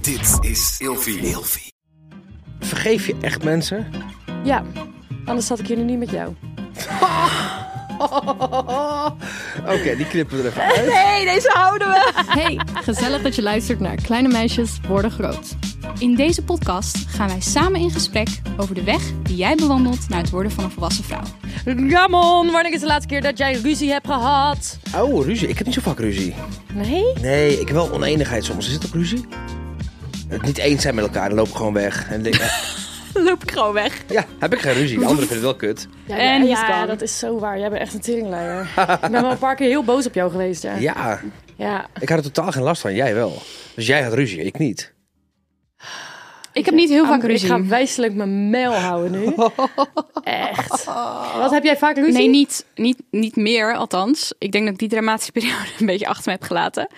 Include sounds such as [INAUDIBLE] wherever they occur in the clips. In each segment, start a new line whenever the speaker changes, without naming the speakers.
Dit is Ilfie.
Vergeef je echt mensen?
Ja, anders zat ik hier nu niet met jou.
Oké, die knippen we er even uit.
Nee, deze houden we.
Hey, gezellig dat je luistert naar Kleine Meisjes Worden Groot. In deze podcast gaan wij samen in gesprek over de weg die jij bewandelt naar het worden van een volwassen vrouw.
Ramon, wanneer is de laatste keer dat jij ruzie hebt gehad?
Oh, ruzie. Ik heb niet zo vaak ruzie.
Nee?
Nee, ik heb wel oneenigheid soms. Is het ook ruzie? Het niet eens zijn met elkaar, dan loop ik gewoon weg. En
[LAUGHS]
denk-
Loop ik gewoon weg.
ja, heb ik geen ruzie. Anderen vinden het wel kut.
Ja,
En
ja,
he's
ja,
gone.
dat is zo waar. Jij bent echt een teringleier. ik ben wel een paar keer heel boos op jou geweest, ja.
Ja,
Ja.
ik had er totaal geen last van. Jij wel. Dus jij had ruzie, ik niet.
Ik heb niet heel vaak
Ik
ruzie.
ga wijselijk mijn mel houden nu. Echt. Wat heb jij vaak ruzie?
Nee, niet, niet, niet meer althans. Ik denk dat ik die dramatische periode [LAUGHS] een beetje achter me heb gelaten.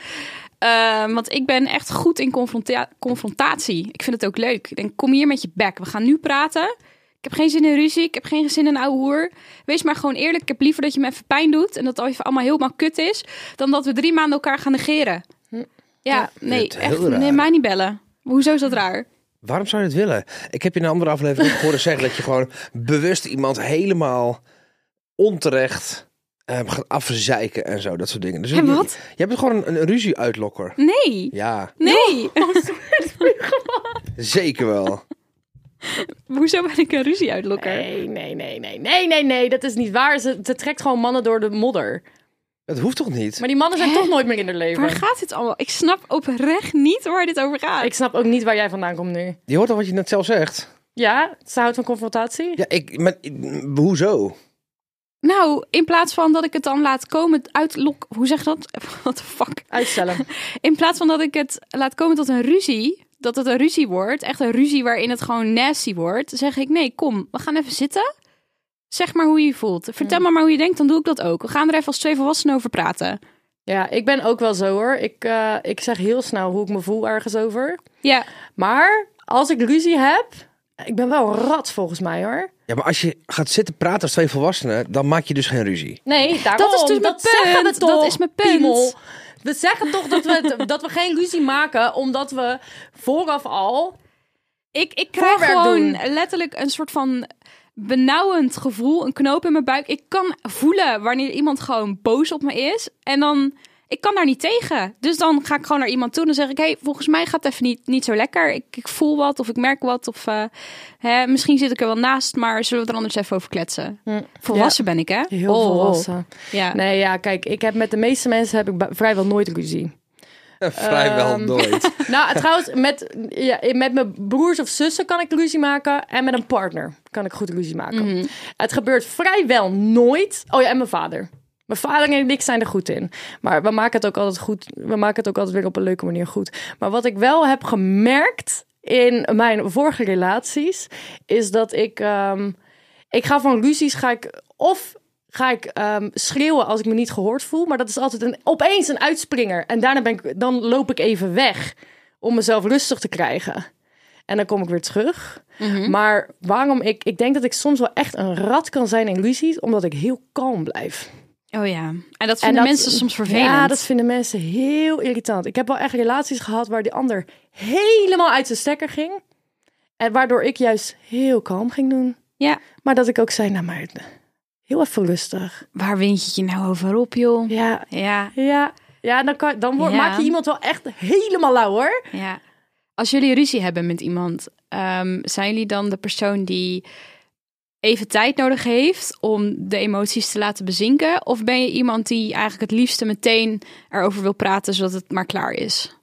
Ehm, want ik ben echt goed in confronta- confrontatie. Ik vind het ook leuk. Ik denk, kom hier met je bek. We gaan nu praten. Ik heb geen zin in ruzie. Ik heb geen zin in ouwe hoer. Wees maar gewoon eerlijk. Ik heb liever dat je me even pijn doet. En dat het even allemaal helemaal kut is. Dan dat we drie maanden elkaar gaan negeren. Ja,
Ja.
nee.
Het is heel
Echt,
raar.
nee, mij niet bellen. Hoezo is dat raar?
Waarom zou je het willen? Ik heb je in een andere aflevering ook horen zeggen dat je gewoon bewust iemand helemaal onterecht eh, gaat afzeiken en zo, dat soort dingen. Dus
Hè, wat?
Je bent gewoon een, een ruzie-uitlokker.
Nee.
Ja,
Nee.
zeker [LAUGHS] wel.
Hoezo ben ik een ruzie uitlokker?
Nee, nee, nee, nee, nee, nee, nee, dat is niet waar. Ze, ze trekt gewoon mannen door de modder.
Dat hoeft toch niet?
Maar die mannen zijn
Hè?
toch nooit meer in haar
Waar
leven.
gaat dit allemaal? Ik snap oprecht niet waar dit over gaat.
Ik snap ook niet waar jij vandaan komt nu.
Je hoort al wat je net zelf zegt.
Ja, ze houdt van confrontatie.
Ja, ik, maar, hoezo?
Nou, in plaats van dat ik het dan laat komen uitlok... Hoe zeg je dat? [LAUGHS] What the fuck?
Uitstellen.
In plaats van dat ik het laat komen tot een ruzie... Dat het een ruzie wordt, echt een ruzie waarin het gewoon nasty wordt... zeg ik, nee, kom, we gaan even zitten. Zeg maar hoe je je voelt. Vertel me maar hoe je denkt, dan doe ik dat ook. We gaan er even als twee volwassenen over praten.
Ja, ik ben ook wel zo hoor. Ik, eh, ik zeg heel snel hoe ik me voel ergens over.
Ja,
Maar als ik ruzie heb, ik ben wel rat volgens mij hoor.
Ja, maar als je gaat zitten praten als twee volwassenen, dan maak je dus geen ruzie.
[LAUGHS] Nee, daarom.
is dus mijn
dat zeggen we
punt.
toch,
Dat is mijn punt.
piemel. We zeggen toch dat we, het- [LAUGHS] dat we geen ruzie maken, omdat we vooraf al...
Ik, ik krijg
Voorwerk
gewoon
doen.
letterlijk een soort van benauwend gevoel, een knoop in mijn buik. Ik kan voelen wanneer iemand gewoon boos op me is. En dan, ik kan daar niet tegen. Dus dan ga ik gewoon naar iemand toe en dan zeg ik... hey, volgens mij gaat het even niet, niet zo lekker. Ik, ik voel wat of ik merk wat. Of eh, hè, misschien zit ik er wel naast, maar zullen we er anders even over kletsen? Volwassen ben ik, hè?
Hm. Heel
Oh,
volwassen.
Ja.
Nee, ja, kijk, ik heb met de meeste mensen heb ik ba- vrijwel nooit ruzie.
[LAUGHS] Vrijwel nooit.
[LAUGHS] Nou, trouwens, met, ja, met mijn broers of zussen kan ik ruzie maken. En met een partner kan ik goed ruzie maken. Het gebeurt vrijwel nooit. Oh ja, en mijn vader. Mijn vader en ik zijn er goed in. Maar we maken het ook altijd goed. We maken het ook altijd weer op een leuke manier goed. Maar wat ik wel heb gemerkt in mijn vorige relaties, is dat ik. ehm, ik ga van ruzies ga ik of ga ik ehm, schreeuwen als ik me niet gehoord voel, maar dat is altijd een opeens een uitspringer en daarna ben ik dan loop ik even weg om mezelf rustig te krijgen. En dan kom ik weer terug.
Mhm.
Maar waarom ik ik denk dat ik soms wel echt een rat kan zijn in ruzies, omdat ik heel kalm blijf.
Oh ja. En dat vinden
dat-
mensen soms vervelend.
Ja, dat vinden mensen heel irritant. Ik heb wel echt relaties gehad waar die ander helemaal uit zijn stekker ging en waardoor ik juist heel kalm ging doen.
Ja.
Maar dat ik ook zei, nou maar heel even rustig.
Waar wind je je nou over op, joh?
Ja,
Ja,
ja. Ja, dan, kan, dan wordt-
Ja.
maak je iemand wel echt helemaal lauw hoor.
Ja. Als jullie ruzie hebben met iemand, ehm, zijn jullie dan de persoon die even tijd nodig heeft om de emoties te laten bezinken? Of ben je iemand die eigenlijk het liefste meteen erover wil praten, zodat het maar klaar is?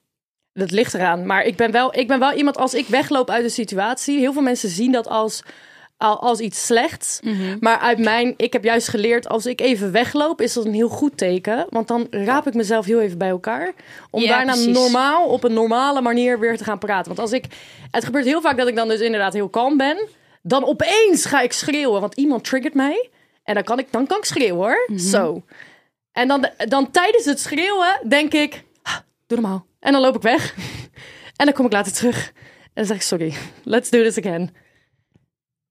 Dat ligt eraan. Maar ik ben wel, ik ben wel iemand, als ik wegloop uit de situatie... heel veel mensen zien dat als, al- als iets slechts.
Mhm.
Maar uit mijn, ik heb juist geleerd, als ik even wegloop... is dat een heel goed teken. Want dan raap ik mezelf heel even bij elkaar. Om
Ja,
daarna
precies.
normaal, op een normale manier weer te gaan praten. Want als ik, het gebeurt heel vaak dat ik dan dus inderdaad heel kalm ben. Dan opeens ga ik schreeuwen, want iemand triggert mij. En dan kan ik, dan kan ik schreeuwen hoor.
Mhm.
Zo. En dan, dan tijdens het schreeuwen denk ik, "Ah, doe normaal. En dan loop ik weg. En dan kom ik later terug. En dan zeg ik, sorry, let's do this again.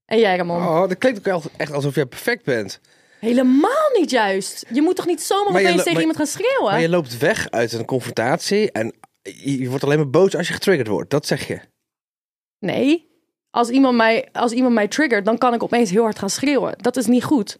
En jij Ramon?
[LAUGHS] Oh, dat klinkt ook wel echt alsof jij perfect bent.
Helemaal niet juist. Je moet toch niet zomaar
Maar je
opeens
lo-
tegen
maar-
iemand gaan schreeuwen?
Maar je loopt weg uit een confrontatie en je je wordt alleen maar boos als je getriggerd wordt. Dat zeg je.
Nee. Als iemand, mij, als iemand mij triggert, dan kan ik opeens heel hard gaan schreeuwen. Dat is niet goed.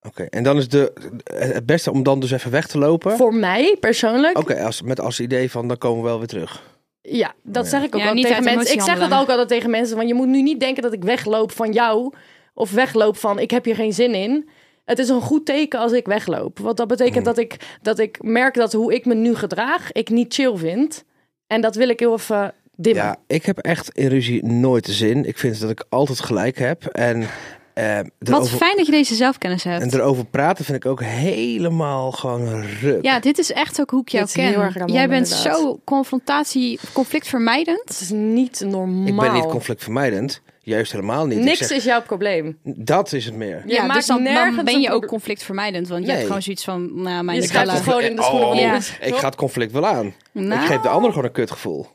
Oké, en dan is de, het beste om dan dus even weg te lopen.
Voor mij persoonlijk.
Oké, als, met als idee van dan komen we wel weer terug.
Ja, dat
Oh Ja.
zeg ik ook
Ja,
wel
niet
tegen
uit
mensen.
emotie
Ik zeg dat
handelen.
ook altijd tegen mensen. Want je moet nu niet denken dat ik wegloop van jou. Of wegloop van ik heb hier geen zin in. Het is een goed teken als ik wegloop. Want dat
Hm.
betekent dat ik, dat ik merk dat hoe ik me nu gedraag, ik niet chill vind. En dat wil ik heel even dimmen.
Ja, ik heb echt in ruzie nooit de zin. Ik vind dat ik altijd gelijk heb. En, eh,
Wat
erover,
fijn dat je deze zelfkennis
en
hebt.
erover praten vind ik ook helemaal gewoon ruk.
Ja, dit is echt ook hoe ik jou
Dit is heel
ken.
erg Ramon,
Jij bent
inderdaad.
zo confrontatie, conflictvermijdend.
Het is niet normaal.
ik ben niet conflictvermijdend. Juist helemaal niet. Ik
Niks
zeg,
is jouw probleem.
Dat is het meer.
Je
Ja,
maakt
dus dan, dan
nergens
ben
een
je ook
probleem.
conflictvermijdend. Want je
Nee.
hebt gewoon zoiets van, nou, mijn
Je
Ik ga
schuift
stellen.
het gewoon in de schoenen van
Oh.
je
Ja.
Ik ga het conflict wel aan.
Nou,
Ik geef de ander gewoon een kutgevoel.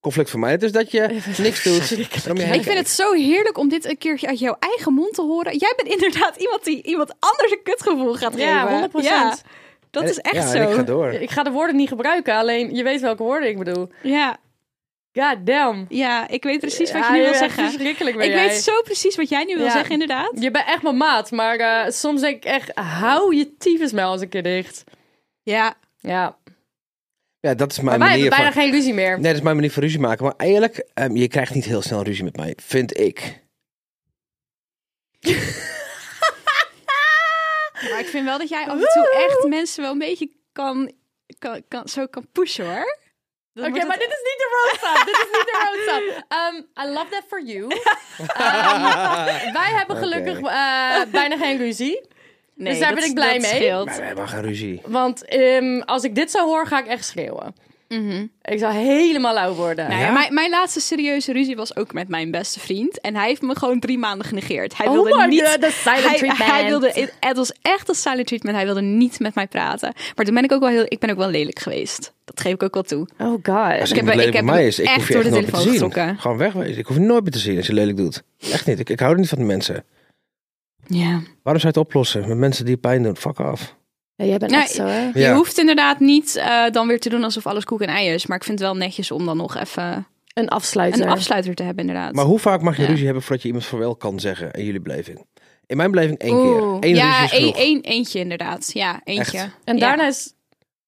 Conflict vermijdend is dat je niks doet. en om je heen
Ik vind
kijkt.
het zo heerlijk om dit een keertje uit jouw eigen mond te horen. Jij bent inderdaad [LAUGHS] iemand die iemand anders een kutgevoel gaat
[LAUGHS] Ja,
geven.
100%.
Ja, dat
En-
is echt
ja,
zo.
En ik ga door.
Ik ga de woorden niet gebruiken, alleen je weet welke woorden ik bedoel.
Ja,
God damn.
ja, ik weet precies wat
Ja,
je nu wil
bent echt
zeggen.
Verschrikkelijk ben
Ik
jij.
weet zo precies wat jij nu wil
Ja.
zeggen, inderdaad.
Je bent echt mijn maat, maar eh, soms denk ik echt, hou je tyfusmel als een keer dicht.
Ja,
Ja,
Ja, dat is
maar
mijn
wij hebben
manier van...
bijna geen ruzie meer.
Nee, dat is mijn manier van ruzie maken. Maar eigenlijk, ehm, je krijgt niet heel snel ruzie met mij, vind ik.
maar ik vind wel dat jij af en toe echt mensen wel een beetje kan, kan, kan, zo kan pushen, hoor. Dat
Oké,
moet het-
maar dit is niet de roadstop. dit is niet de
[LAUGHS]
roadstop. Um, I love that for you. Ehm, wij hebben gelukkig
Oké.
eh, bijna geen ruzie.
Nee,
dus daar
dat-
ben ik blij
dat
mee.
scheelt.
Maar we hebben geen ruzie.
Want ehm, als ik dit zou horen, ga ik echt schreeuwen.
Mhm.
Ik zou helemaal lauw worden.
Nou ja, mijn, mijn laatste serieuze ruzie was ook met mijn beste vriend. En hij heeft me gewoon drie maanden genegeerd. Hij
Oh
wilde
my
niet.
God, dat silent
hij,
treatment.
Hij wilde, het, het was echt een silent treatment. Hij wilde niet met mij praten. Maar toen ben ik ook wel heel. Ik ben ook wel lelijk geweest. Dat geef ik ook wel toe.
Oh god.
Als
heb-
iemand
ik
lelijk
heb
bij mij
hem
is, ik
echt
hoef je
door
echt
de
nooit meer te zien.
telefoon getrokken.
Gewoon wegwezen. Ik hoef je nooit meer te zien als je lelijk doet. Echt niet. Ik, ik hou er niet van de mensen.
Ja.
Waarom zou je het oplossen met mensen die je pijn doen? Fuck af.
jij bent
Nee.
echt zo, hè?
Je hoeft inderdaad niet eh, dan weer te doen alsof alles koek en ei is. Maar ik vind het wel netjes om dan nog even
Een afsluiter.
een afsluiter te hebben, inderdaad.
Maar hoe vaak mag je
Ja.
ruzie hebben voordat je iemand voor wel kan zeggen in jullie beleving? In mijn beleving één
Oeh.
keer. Eén
ja,
ruzie is genoeg.
één- één- eentje inderdaad. Ja, eentje.
Echt?
en
Ja.
daarna is...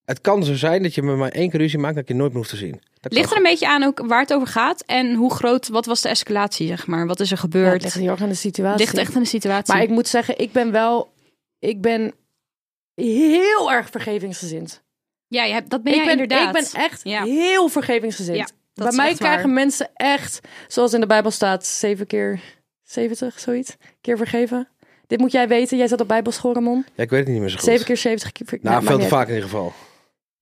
Het kan zo zijn dat je met maar één keer ruzie maakt dat ik je nooit meer hoeft te zien. Dat
Ligt er
kan.
een beetje aan ook waar het over gaat en hoe groot, wat was de escalatie, zeg maar? Wat is er
Ja,
gebeurd?
het ligt heel erg aan de situatie.
Ligt echt aan de situatie.
Maar ik moet zeggen, ik ben wel... Ik ben heel erg vergevingsgezind.
ja, je hebt- dat ben
ik,
jij
ben,
inderdaad.
ik ben echt
Ja.
heel vergevingsgezind.
Ja, dat
Bij
is
mij
echt waar.
krijgen mensen echt, zoals in de Bijbel staat, zeven keer zeventig, zoiets. Keer vergeven. Dit moet jij weten. Jij zat op Bijbelschool, Ramon.
Ja, ik weet het niet meer zo goed.
Zeven keer zeventig. keer ver-
Nou,
Nou,
veel te
maakt niet uit.
vaak in ieder geval.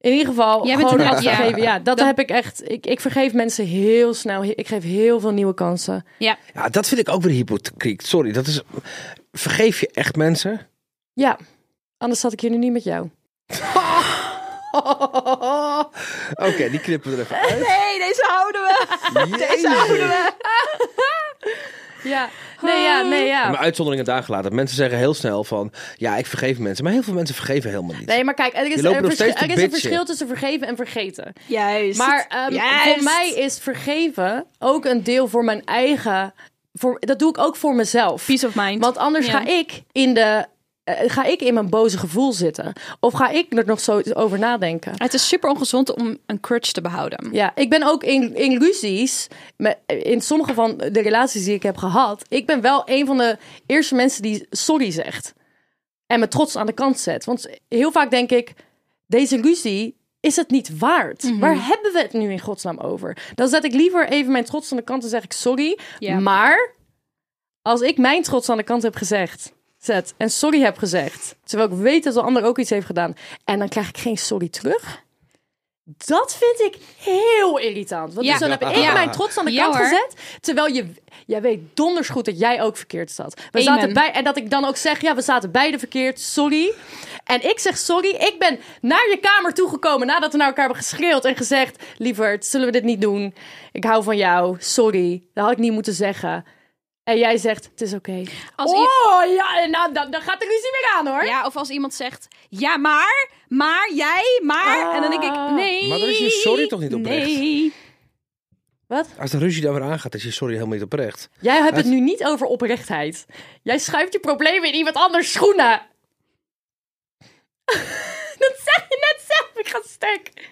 In ieder geval,
Jij bent
gewoon
inderdaad- ja.
afgegeven. Ja, dat,
Dat-
heb ik echt. Ik, ik vergeef mensen heel snel. Ik geef heel veel nieuwe kansen.
Ja,
Ja, dat vind ik ook weer hypocriet. Sorry, dat is... Vergeef je echt
[LAUGHS]
mensen?
Ja, anders zat ik hier nu niet met jou.
Oké, die knippen we er even uit.
Nee, deze houden we.
Jezus.
Ja, nee, ja, nee, ja.
Maar uitzonderingen daar gelaten. Mensen zeggen heel snel van... Ja, ik vergeef mensen. Maar heel veel mensen vergeven helemaal niet.
Nee, maar kijk, er is,
Je loopt
een,
nog
vers-
steeds te
er is een
bitchen.
verschil tussen vergeven en vergeten.
Juist.
Maar ehm, voor mij is vergeven ook een deel voor mijn eigen. Voor, dat doe ik ook voor mezelf.
Peace of mind.
Want anders
Ja.
ga ik in de. eh, ga ik in mijn boze gevoel zitten? Of ga ik er nog zo over nadenken?
Het is super ongezond om een crutch te behouden.
Ja, ik ben ook in, in ruzies, met- in sommige van de relaties die ik heb gehad, ik ben wel een van de eerste mensen die sorry zegt. En me trots aan de kant zet. Want heel vaak denk ik, deze ruzie is het niet waard. Waar hebben we het nu in godsnaam over? Dan zet ik liever even mijn trots aan de kant en zeg ik sorry.
Ja.
Maar als ik mijn trots aan de kant heb gezegd, zet en sorry heb gezegd, terwijl ik weet dat de ander ook iets heeft gedaan, en dan krijg ik geen sorry terug. Dat vind ik heel irritant. Want
Ja.
dus dan heb ik
Ja.
mijn trots aan de
Ja,
kant
hoor.
gezet. Terwijl je, jij weet donders goed dat jij ook verkeerd zat. We
Amen.
zaten bij, en dat ik dan ook zeg, ja, we zaten beide verkeerd, sorry. En ik zeg sorry, ik ben naar je kamer toegekomen nadat we naar elkaar hebben geschreeuwd en gezegd, lieverd, zullen we dit niet doen? Ik hou van jou, sorry, dat had ik niet moeten zeggen. En jij zegt, het is oké.
Als i-
oh ja, en nou, dan, dan gaat de ruzie weer aan hoor.
ja, of als iemand zegt, ja, maar, maar, jij, maar.
Ah.
En dan denk ik, nee.
Maar dan is je sorry toch niet oprecht?
Nee.
Wat?
Als de ruzie daar weer aangaat, is je sorry helemaal niet oprecht.
Jij hebt het
Uit-
nu niet over oprechtheid. Jij schuift je problemen in iemand anders schoenen. [LAUGHS] dat zei je net zelf. Ik ga stuk.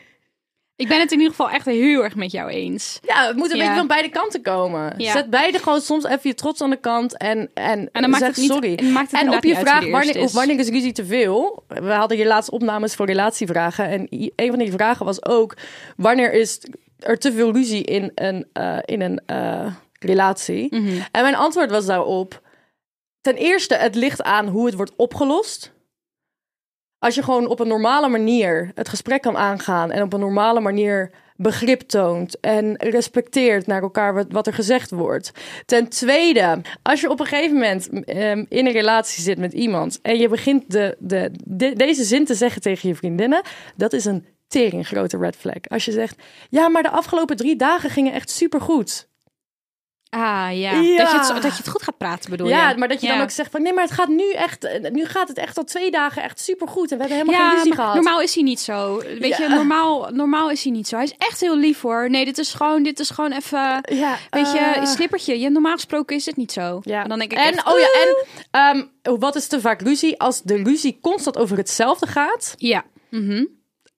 Ik ben het in ieder geval echt heel erg met jou eens.
Ja, het moet een
Ja.
beetje van beide kanten komen.
Ja.
Zet beide gewoon soms even je trots aan de kant en, en,
En dan maakt
zeg
het niet-
sorry.
en maakt het
en op
inderdaad
je
niet uit wie
vraag,
de
wanneer,
eerste
of
is.
wanneer is ruzie te veel? We hadden hier laatst opnames voor relatievragen. En i- een van die vragen was ook, wanneer is er te veel ruzie in een, eh, in een eh, relatie?
Mhm.
En mijn antwoord was daarop, ten eerste, het ligt aan hoe het wordt opgelost. Als je gewoon op een normale manier het gesprek kan aangaan en op een normale manier begrip toont en respecteert naar elkaar wat, wat er gezegd wordt. Ten tweede, als je op een gegeven moment ehm, in een relatie zit met iemand en je begint de, de, de- deze zin te zeggen tegen je vriendinnen, dat is een tering grote red flag. Als je zegt, ja, maar de afgelopen drie dagen gingen echt supergoed.
Ah, ja.
Ja.
Dat, je het, zo- dat je het goed gaat praten, bedoel
Ja,
je?
maar dat je dan ook zegt van nee, maar het gaat nu echt, eh, nu gaat het echt al twee dagen echt supergoed en we hebben helemaal geen
Ja,
ruzie
maar
gehad.
normaal is hij niet zo.
Ja.
Weet je, normaal, normaal is hij niet zo. Hij is echt heel lief hoor. Nee, dit is gewoon, dit is gewoon even.
Ja,
Weet je,
eh,
een snippertje. Ja, normaal gesproken is het niet zo.
Ja.
En dan denk ik
en,
echt,
oh ja,
oeh.
en ehm, wat is te vaak ruzie? Als de ruzie constant over hetzelfde gaat,
Ja. mhm.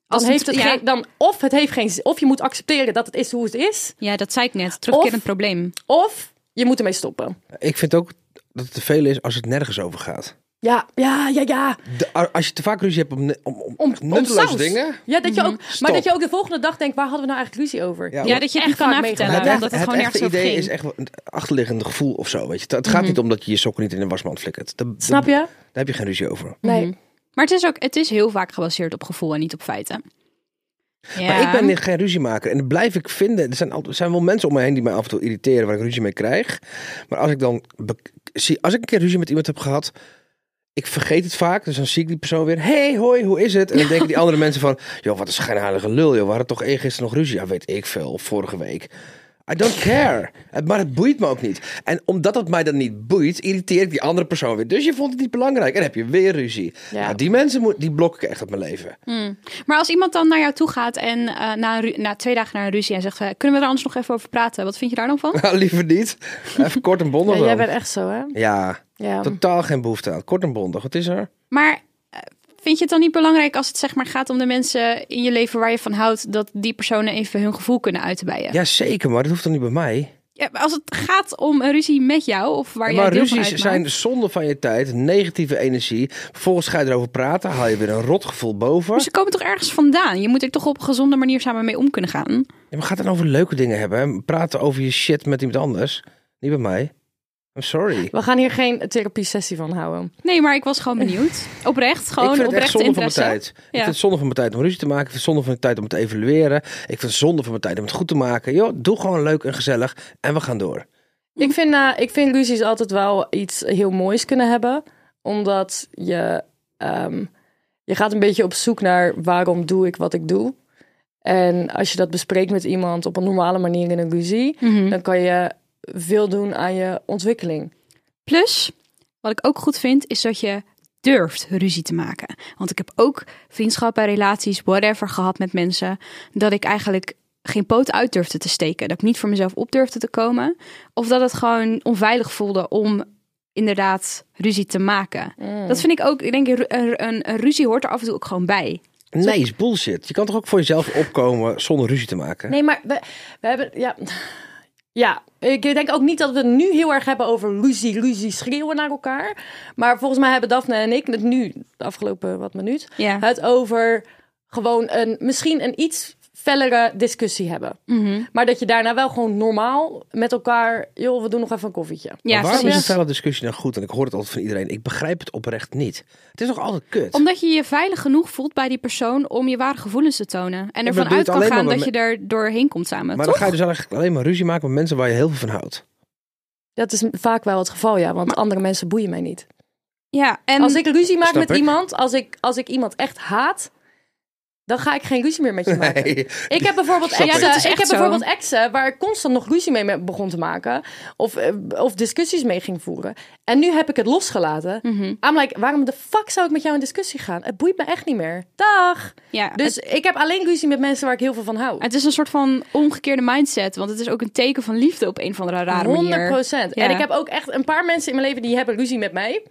dan
Als
heeft het
ja.
geen, dan of het heeft geen, z- of je moet accepteren dat het is hoe het is,
ja, dat zei ik net. Terugkerend
Of-
probleem.
of je moet ermee stoppen.
Ik vind ook dat het te veel is als het nergens over gaat.
Ja, ja, ja, ja.
De- a- als je te vaak ruzie hebt om, ne- om, om,
Om, om
nutteloze
saus.
dingen.
Ja, dat je ook, maar
Stop.
dat je ook de volgende dag denkt, waar hadden we nou eigenlijk ruzie over?
Ja,
Ja, dat je het
Echt
niet kan
vaak
navertellen.
meegemaakt.
Het,
Omdat
echt, Oh. het,
het, gewoon
echte
nergens over
idee
ging.
is echt wel een achterliggende gevoel of zo. Weet je. Het gaat niet om dat je je sokken niet in de wasmand flikkert. Dat-
Snap je? Mhm.
dat- Daar heb je geen ruzie over.
Nee.
Maar het is ook, het is heel vaak gebaseerd op gevoel en niet op feiten. Ja.
Maar ik ben niet- geen ruziemaker. En dat blijf ik vinden. Er zijn, altijd, er zijn wel mensen om me heen die mij af en toe irriteren waar ik ruzie mee krijg. Maar als ik dan be- zie, als ik een keer ruzie met iemand heb gehad. Ik vergeet het vaak, dus dan zie ik die persoon weer. hey, hoi, hoe is het? En dan denken die andere mensen van... [LAUGHS] joh, wat een schijnheilige lul, joh. We hadden toch eergisteren nog ruzie? Ja, weet ik veel, of vorige week. I don't care. Het- Maar het boeit me ook niet. En omdat het mij dan niet boeit, irriteer ik die andere persoon weer. Dus je vond het niet belangrijk. En dan heb je weer ruzie.
Ja.
Nou, die mensen moet, die blok ik echt uit mijn leven.
Maar als iemand dan naar jou toe gaat en eh, na, een ru- na twee dagen naar een ruzie en zegt: eh, Kunnen we er anders nog even over praten? Wat vind je daar dan
[LAUGHS]
van?
Nou, liever niet. Even kort en bondig
Ja, jij
dan.
bent echt zo, hè?
Ja,
Ja.
totaal geen behoefte aan. Kort en bondig, wat is er?
Maar eh, vind je het dan niet belangrijk als het zeg maar gaat om de mensen in je leven waar je van houdt, dat die personen even hun gevoel kunnen uiten bij je?
Ja, zeker, maar dat hoeft dan niet bij mij.
Ja, maar als het gaat om een ruzie met jou of waar jij
maar
deel van
ruzies
uitmaakt.
zijn dus zonde van je tijd, negatieve energie. Vervolgens ga je erover praten, haal je weer een rotgevoel boven.
Maar ze komen toch ergens vandaan? Je moet er toch op een gezonde manier samen mee om kunnen gaan?
Ja, maar ga het dan over leuke dingen hebben. hè? Praten over je shit met iemand anders. Niet bij mij. I'm sorry.
We gaan hier geen therapie-sessie van houden.
Nee, maar ik was
[LAUGHS]
gewoon benieuwd. Oprecht, gewoon
ik vind het echt zonde van
oprecht
mijn
interesse.
tijd. Ik
Ja.
vind het zonde van mijn tijd om ruzie te maken. Ik vind het zonde van mijn tijd om het te evalueren. Ik vind het zonde van mijn tijd om het goed te maken. Joh, doe gewoon leuk en gezellig. En we gaan door.
Ik vind, eh, ik vind ruzies altijd wel iets heel moois kunnen hebben. Omdat je, ehm, je gaat een beetje op zoek naar waarom doe ik wat ik doe. En als je dat bespreekt met iemand op een normale manier in een ruzie,
Mhm. Hm.
dan kan je veel doen aan je ontwikkeling.
Plus, wat ik ook goed vind, is dat je durft ruzie te maken. Want ik heb ook vriendschappen, relaties, whatever gehad met mensen. Dat ik eigenlijk geen poot uit durfde te steken. Dat ik niet voor mezelf op durfde te komen. Of dat het gewoon onveilig voelde om inderdaad ruzie te maken. Dat vind ik ook, ik denk, een, een, een ruzie hoort er af en toe ook gewoon bij.
Nee, is bullshit. Je kan toch ook voor jezelf opkomen zonder ruzie te maken?
Nee, maar we, we hebben. Ja. ja, ik denk ook niet dat we het nu heel erg hebben over ruzie, ruzie, schreeuwen naar elkaar. Maar volgens mij hebben Daphne en ik het nu, de afgelopen wat minuut,
Ja.
het over gewoon een, misschien een iets fellere discussie hebben.
Mhm.
Maar dat je daarna wel gewoon normaal met elkaar, joh, we doen nog even een koffietje.
Ja,
maar waarom
precies.
is een felle discussie nou goed? En ik hoor het altijd van iedereen. Ik begrijp het oprecht niet. Het is toch altijd kut?
Omdat je je veilig genoeg voelt bij die persoon om je ware gevoelens te tonen. En ervan
doe je het
uit kan
alleen
gaan
maar
dat je
met-
er doorheen komt samen.
maar dan
toch?
ga je dus eigenlijk alleen maar ruzie maken met mensen waar je heel veel van houdt.
Dat is vaak wel het geval, ja, want andere mensen boeien mij niet.
Ja, en
Als ik ruzie maak
Snap
met
ik.
iemand, als ik, als ik iemand echt haat, dan ga ik geen ruzie meer met je maken.
Nee.
Ik heb bijvoorbeeld
Snap ik.
exen,
Dat
is echt
ik heb
zo.
bijvoorbeeld exen waar ik constant nog ruzie mee me- begon te maken. Of, eh, of discussies mee ging voeren. En nu heb ik het losgelaten. I'm like, waarom de fuck zou ik met jou in discussie gaan? Het boeit me echt niet meer. Dag!
Ja,
Dus ik heb alleen ruzie met mensen waar ik heel veel van hou.
Het is een soort van omgekeerde mindset. Want het is ook een teken van liefde op een of andere rare
100
manier. Ja.
En ik heb ook echt een paar mensen in mijn leven die hebben ruzie met
[LAUGHS]
mij.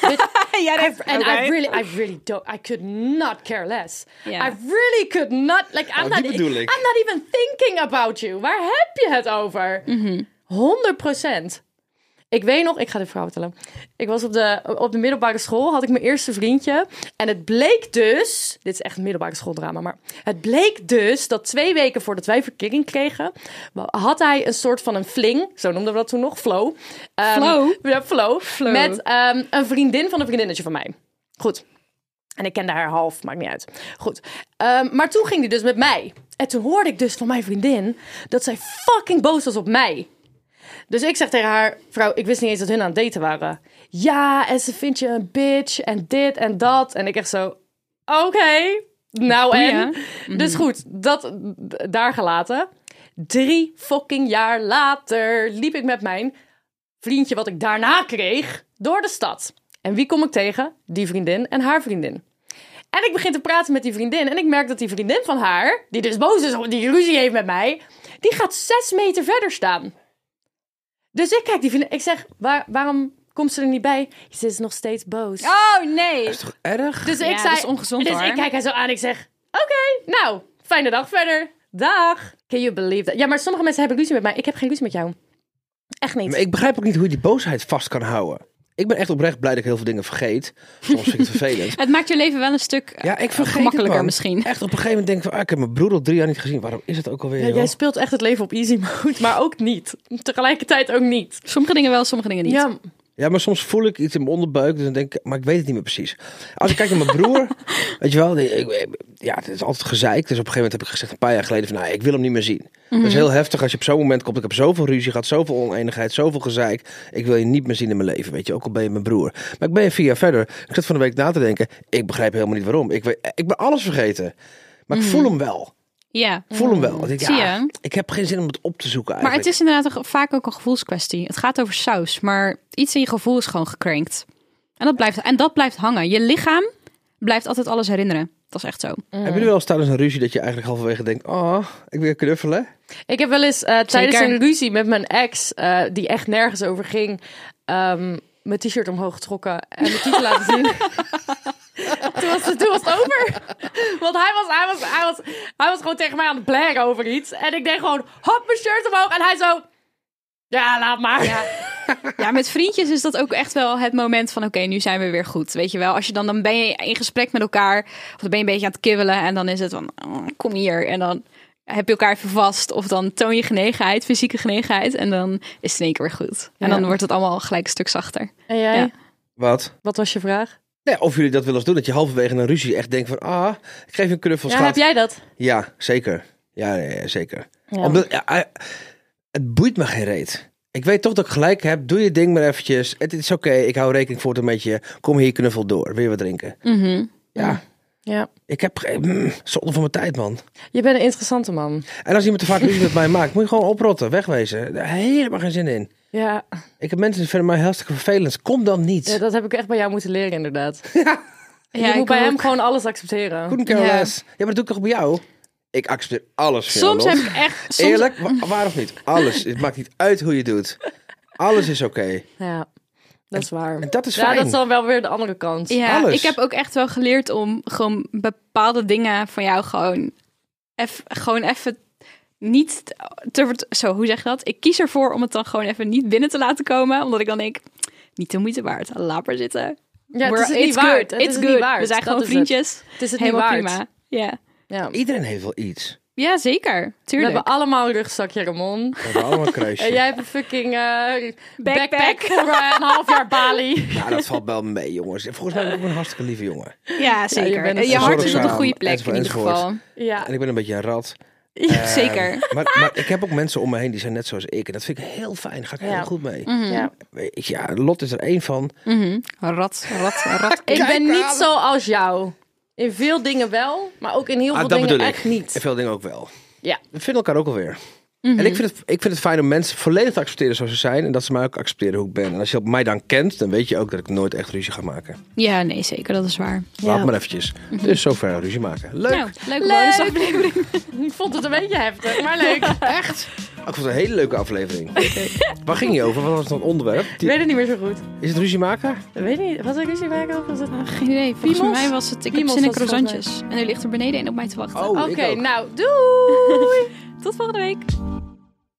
Dit-
ja, dat-
I've- and
oké.
I really, I really don't. I could not care less.
Ja.
I really could not. Like, I'm
Oh, die
not.
bedoel ik.
I'm not even thinking about you. Waar heb je het over?
Mhm.
100 procent. Ik weet nog, ik ga dit verhaal vertellen. Ik was op de, op de middelbare school, had ik mijn eerste vriendje. En het bleek dus, dit is echt een middelbare schooldrama, maar het bleek dus dat twee weken voordat wij verkering kregen, had hij een soort van een fling, zo noemden we dat toen nog, flow. Ehm,
Flow?
Ja, flow.
Flow.
Met ehm, een vriendin van een vriendinnetje van mij. Goed. En ik kende haar half, maakt niet uit. Goed. Ehm, maar toen ging die dus met mij. En toen hoorde ik dus van mijn vriendin dat zij fucking boos was op mij. Dus ik zeg tegen haar, vrouw, ik wist niet eens dat hun aan het daten waren. Ja, en ze vindt je een bitch en dit en dat. En ik echt zo, oké, nou en?
Ja.
Dus goed, dat d- daar gelaten. Drie fucking jaar later liep ik met mijn vriendje wat ik daarna kreeg door de stad. En wie kom ik tegen? Die vriendin en haar vriendin. En ik begin te praten met die vriendin. En ik merk dat die vriendin van haar, die dus boos is, die ruzie heeft met mij, die gaat zes meter verder staan. Dus ik kijk die vriendin. Ik zeg, waar, waarom komt ze er niet bij? Ze is nog steeds boos.
Oh nee.
is toch erg?
Dus ik
Ja,
zei,
dat is ongezond,
dus
hoor.
ik kijk haar zo aan. Ik zeg, oké, nou, fijne dag verder. Dag. Can you believe that? Ja, maar sommige mensen hebben ruzie met mij. Ik heb geen ruzie met jou. Echt niet.
Maar ik begrijp ook niet hoe je die boosheid vast kan houden. Ik ben echt oprecht blij dat ik heel veel dingen vergeet. Soms vind ik het vervelend.
Het maakt je leven wel een stuk
Ja, ik vergeet het,
gemakkelijker
man.
misschien.
Echt op een gegeven moment denk ik van, ah, ik heb mijn broer al drie jaar niet gezien. Waarom is het ook alweer?
Ja,
joh?
jij speelt echt het leven op easy mode, [LAUGHS] maar ook niet. Tegelijkertijd ook niet.
Sommige dingen wel, sommige dingen niet.
Ja,
Ja, maar soms voel ik iets in mijn onderbuik. Dus dan denk ik, maar ik weet het niet meer precies. Als ik kijk naar mijn
[LAUGHS]
broer, weet je wel, die- ik, ja, het is altijd gezeik. Dus op een gegeven moment heb ik gezegd, een paar jaar geleden, van nou, ik wil hem niet meer zien. Dat
Mhm.
is heel heftig als je op zo'n moment komt. Ik heb zoveel ruzie gehad, zoveel oneenigheid, zoveel gezeik. Ik wil je niet meer zien in mijn leven, weet je. Ook al ben je mijn broer. Maar ik ben je vier jaar verder. Ik zat van de week na te denken, ik begrijp helemaal niet waarom. Ik, weet, ik ben alles vergeten. Maar ik voel hem wel.
Ja.
Ik voel hem wel. Ik denk,
Mhm. Zie
ja,
je?
ik heb geen zin om het op te zoeken
Maar
eigenlijk.
het is inderdaad toch vaak ook een gevoelskwestie. Het gaat over saus, maar iets in je gevoel is gewoon gekrankt. En dat blijft, en dat blijft hangen. Je lichaam blijft altijd alles herinneren. Dat is echt zo.
Heb je nu wel eens tijdens een ruzie dat je eigenlijk halverwege denkt, oh, ik wil knuffelen?
ik heb wel eens eh, tijdens
Zeker.
een ruzie met mijn ex, eh, die echt nergens over ging, ehm, mijn t-shirt omhoog getrokken en mijn titel laten
[LAUGHS]
zien. toen, was het, toen was het over. Want hij was, hij, was, hij, was, hij was gewoon tegen mij aan het blaren over iets. En ik deed gewoon, hop, mijn shirt omhoog. En hij zo, ja, laat maar.
Ja, met vriendjes is dat ook echt wel het moment van... oké, nu zijn we weer goed, weet je wel. Als je dan, dan ben je in gesprek met elkaar... of dan ben je een beetje aan het kibbelen... en dan is het van, "Oh, kom hier. En dan heb je elkaar even vast... of dan toon je genegenheid, fysieke genegenheid... en dan is het in één keer weer goed. En
Ja.
dan wordt het allemaal gelijk een stuk zachter.
En jij?
Ja.
Wat?
Wat was je vraag?
Ja, of jullie dat wel eens doen, dat je halverwege een ruzie echt denkt van, ah, ik geef je een knuffel,
Ja,
schat.
heb jij dat?
Ja, zeker. Ja, ja, ja, zeker. Omdat, ja, eh, het boeit me geen reet. Ik weet toch dat ik gelijk heb. Doe je ding maar eventjes. Het is oké, ik hou rekening voor het een beetje. Kom hier, knuffel door. Wil je wat drinken?
Mhm.
Ja,
Ja.
ik heb geen... mm, zonde van mijn tijd, man.
Je bent een interessante man.
En als iemand te vaak ruzie met mij maakt, moet je gewoon oprotten, wegwezen. Daar heb ik helemaal geen zin in.
Ja,
Ik heb mensen die vinden mij hartstikke vervelend. Kom dan niet.
ja, dat heb ik echt bij jou moeten leren, inderdaad.
Ja,
je
ik
moet bij
ook.
hem gewoon alles accepteren.
Couldn't care
Ja.
less. Ja, maar dat doe ik toch bij jou? Ik accepteer alles,
Soms
Charlotte.
heb ik echt... Soms,
Eerlijk, wa- waar of niet? Alles. Het maakt niet uit hoe je het doet. Alles is oké.
Ja, dat is waar.
En dat is
Ja,
fijn.
dat is dan wel weer de andere kant.
Ja,
Alles.
ik heb ook echt wel geleerd om gewoon bepaalde dingen van jou gewoon even, gewoon even niet te vert- zo hoe zeg je dat? Ik kies ervoor om het dan gewoon even niet binnen te laten komen, omdat ik dan denk niet de moeite waard. Laat maar zitten.
Ja, het
We're-
is het niet
it's
waard.
good.
Het
It's
is het
good.
niet waard.
We zijn
Dat
gewoon
is
vriendjes.
Het, het is het
Helemaal
niet waard.
prima. Ja.
Ja.
Iedereen heeft wel iets.
ja, zeker.
We
Tuurlijk.
hebben allemaal een rugzakje, Ramon.
We hebben allemaal een kruisje.
En jij hebt een fucking eh,
Backpack.
backpack. voor eh, een half jaar Bali.
Ja, dat valt wel mee, jongens. Volgens mij ben ik ook een hartstikke lieve jongen.
Ja,
je
zeker.
bent
je
een
hart is op de
zorgzaam,
goede plek
enzovoort,
in ieder
enzovoort.
geval.
[LAUGHS]
Eh,
Ja.
En ik ben een beetje een rat.
Ja, [LAUGHS] zeker.
Ehm, maar, maar ik heb ook mensen om me heen die zijn net zoals ik. En dat vind ik heel fijn. Daar ga ik
Ja. Mhm.
heel goed mee.
ja.
Weet je, Ja, Lot is er één van.
Mhm. Rat, rat, rat.
Ik ben niet zoals jou. In veel dingen wel, maar ook in heel
Ah,
veel
dat
dingen
bedoel
echt
ik. En
niet.
veel dingen ook wel.
Ja. Mhm.
We vinden elkaar ook alweer. En ik vind, het, ik vind het fijn om mensen volledig te accepteren zoals ze zijn. En dat ze mij ook accepteren hoe ik ben. En als je op mij dan kent, dan weet je ook dat ik nooit echt ruzie ga maken.
Ja, nee, zeker. Dat is waar.
Laat maar eventjes. Dus zover ruzie maken. Leuk.
Nou, leuke
dus
bonusaflevering.
Ik vond het een beetje heftig, maar
[LAUGHS]
leuk.
Echt? Oh, ik vond het een hele leuke aflevering. Waar ging je over? Wat was het onderwerp?
Ik
Die-
weet het niet meer zo goed.
Is het ruzie maken?
Ik weet niet, was er ruzie maken of was het...
Ah, Geen idee. Volgens
Piemels?
mij was het... Ik heb
Piemels
zin in
was het volgens mij.
croissantjes. En er ligt er beneden één op mij te wachten.
Oh,
Oké,
ik ook.
[LAUGHS] nou, doei!
Tot volgende week.